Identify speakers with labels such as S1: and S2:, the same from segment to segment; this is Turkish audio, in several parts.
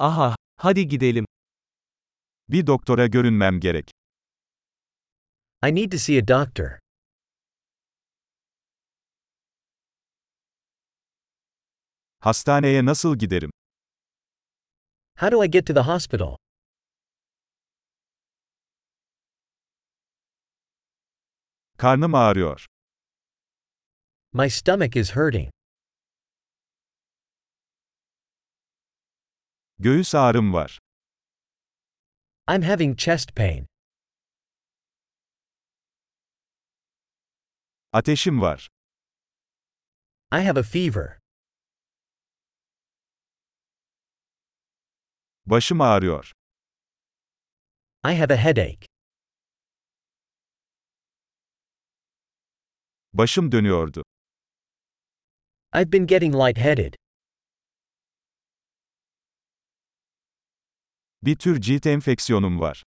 S1: Aha, hadi gidelim.
S2: Bir doktora görünmem gerek.
S3: I need to see a doctor.
S2: Hastaneye nasıl giderim?
S3: How do I get to the hospital?
S2: Karnım ağrıyor.
S3: My stomach is hurting.
S2: Göğüs ağrım var.
S3: I'm having chest pain.
S2: Ateşim var.
S3: I have a fever.
S2: Başım ağrıyor.
S3: I have a headache.
S2: Başım dönüyordu.
S3: I've been getting lightheaded.
S2: Bir tür cilt enfeksiyonum var.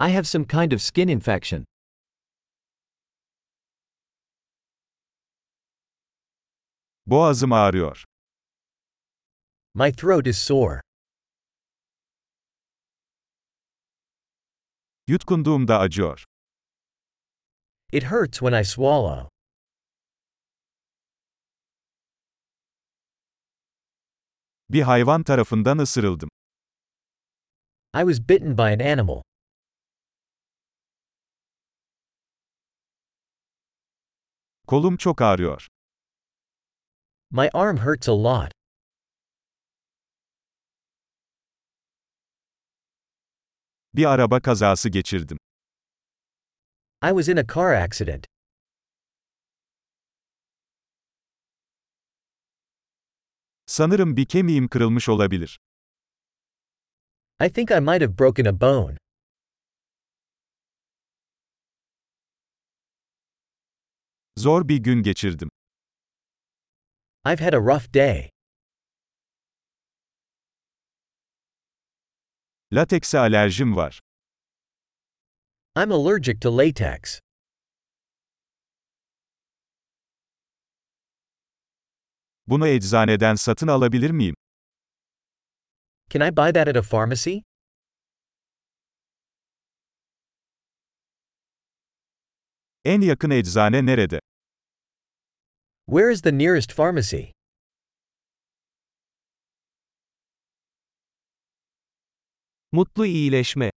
S3: I have some kind of skin infection.
S2: Boğazım ağrıyor.
S3: My throat is sore.
S2: Yutkunduğumda acıyor.
S3: It hurts when I swallow.
S2: Bir hayvan tarafından ısırıldım.
S3: I was bitten by an animal.
S2: Kolum çok ağrıyor.
S3: My arm hurts a lot.
S2: Bir araba kazası geçirdim.
S3: I was in a car accident.
S2: Sanırım bir kemiğim kırılmış olabilir.
S3: I think I might have broken a bone.
S2: Zor bir gün geçirdim.
S3: I've had a rough day.
S2: Latekse alerjim var.
S3: I'm allergic to latex.
S2: Bunu eczaneden satın alabilir miyim?
S3: Can I buy that at a pharmacy?
S2: En yakın eczane nerede?
S3: Where is the nearest pharmacy?
S1: Mutlu iyileşme.